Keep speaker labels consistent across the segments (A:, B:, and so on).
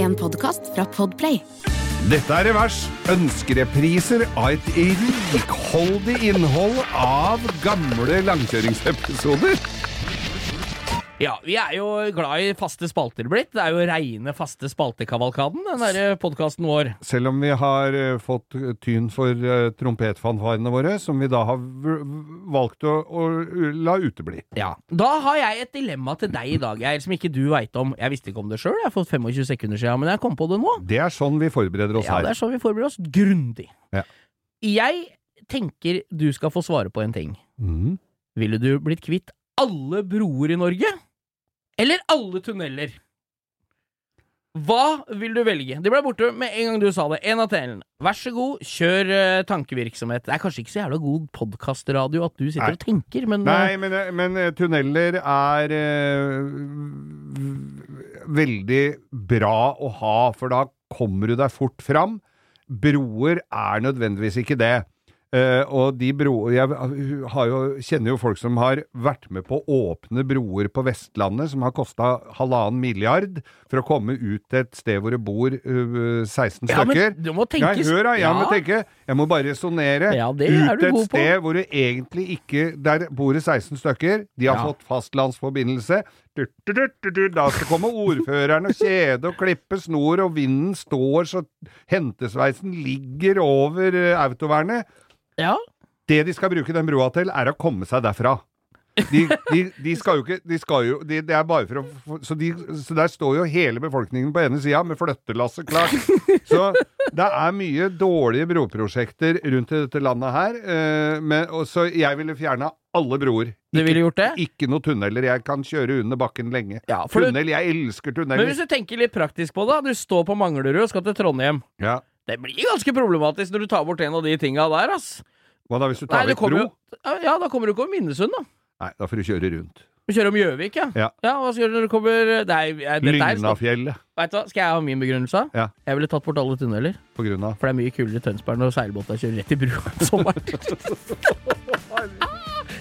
A: en podkast fra Podplay.
B: Dette er Revers. Ønskerepriser av et rikholdig innhold av gamle langkjøringsepisoder.
C: Ja, Vi er jo glad i faste spalter blitt. Det er jo reine faste spaltekavalkaden, den derre podkasten vår.
B: Selv om vi har eh, fått tyn for eh, trompetfanfarene våre, som vi da har v- v- valgt å, å la utebli.
C: Ja. Da har jeg et dilemma til deg i dag, Geir, som ikke du veit om. Jeg visste ikke om det sjøl, jeg har fått 25 sekunder sia, men jeg kom på det nå.
B: Det er sånn vi forbereder oss
C: Ja, det
B: her.
C: er sånn vi forbereder oss. Grundig.
B: Ja.
C: Jeg tenker du skal få svare på en ting.
B: Mm.
C: Ville du blitt kvitt alle broer i Norge? Eller alle tunneler? Hva vil du velge? De ble borte med en gang du sa det. En av telen. Vær så god, kjør eh, tankevirksomhet. Det er kanskje ikke så jævla god podkastradio at du sitter
B: Nei.
C: og tenker, men
B: Nei, men, eh, men eh, tunneler er eh, v- veldig bra å ha, for da kommer du deg fort fram. Broer er nødvendigvis ikke det. Eh, og de broer Jeg eh, har jo, kjenner jo folk som har vært med på å åpne broer på Vestlandet, som har kosta halvannen milliard for å komme ut til et sted hvor det bor eh, 16
C: Ja, men
B: stykker.
C: du må
B: Ja,
C: tenke-
B: hør da, jeg
C: Ja.
B: må tenke. Jeg må bare resonnere.
C: Ja, det er
B: ut
C: du
B: et
C: god på.
B: sted hvor det egentlig ikke Der bor det 16 stykker. De har
C: Ja.
B: fått fastlandsforbindelse. Du, du, du, du, du. Da skal komme ordføreren og kjede og klippe snor, og vinden står så hentesveisen ligger over eh, autovernet.
C: Ja.
B: Det de skal bruke den broa til, er å komme seg derfra. De, de, de skal jo ikke de skal jo, de, Det er bare for å få- så, de, så der står jo hele befolkningen på ene sida med flyttelasset klart. Så det er mye dårlige broprosjekter rundt i dette landet her. eh, men, og, så jeg ville fjerna alle broer.
C: Du ville gjort det?
B: Ikke noe tunneler. Jeg kan kjøre under bakken lenge.
C: Ja, for du-
B: Tunnel, jeg elsker
C: Men
B: tunneler.
C: hvis du tenker litt praktisk på det, da. du står på Manglerud og skal til Trondheim.
B: Ja.
C: Det blir ganske problematisk når du tar bort en av de tinga der, ass.
B: Hva da hvis du
C: Nei,
B: tar
C: du
B: vekk bro?
C: kommer jo Ja, da kommer du ikke over Minnesund, da.
B: Nei, da får du kjøre rundt.
C: Du kjører om Gjøvik, ja.
B: Ja.
C: Hva skal du når du kommer Nei, jeg- dette er-
B: Lygnafjellet,
C: Vet du hva, skal jeg ha min begrunnelse?
B: Ja.
C: Jeg ville tatt bort alle tunneler.
B: på grunn av
C: For det er mye kulere i Tønsberg når seilbåta kjører rett i brua om sommeren.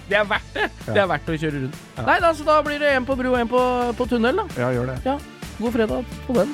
C: det er verdt det! Det er verdt å kjøre rundt. Nei, da, så da blir det én på bru og én på, på tunnel, da.
B: Ja, gjør det.
C: Ja. God fredag på den.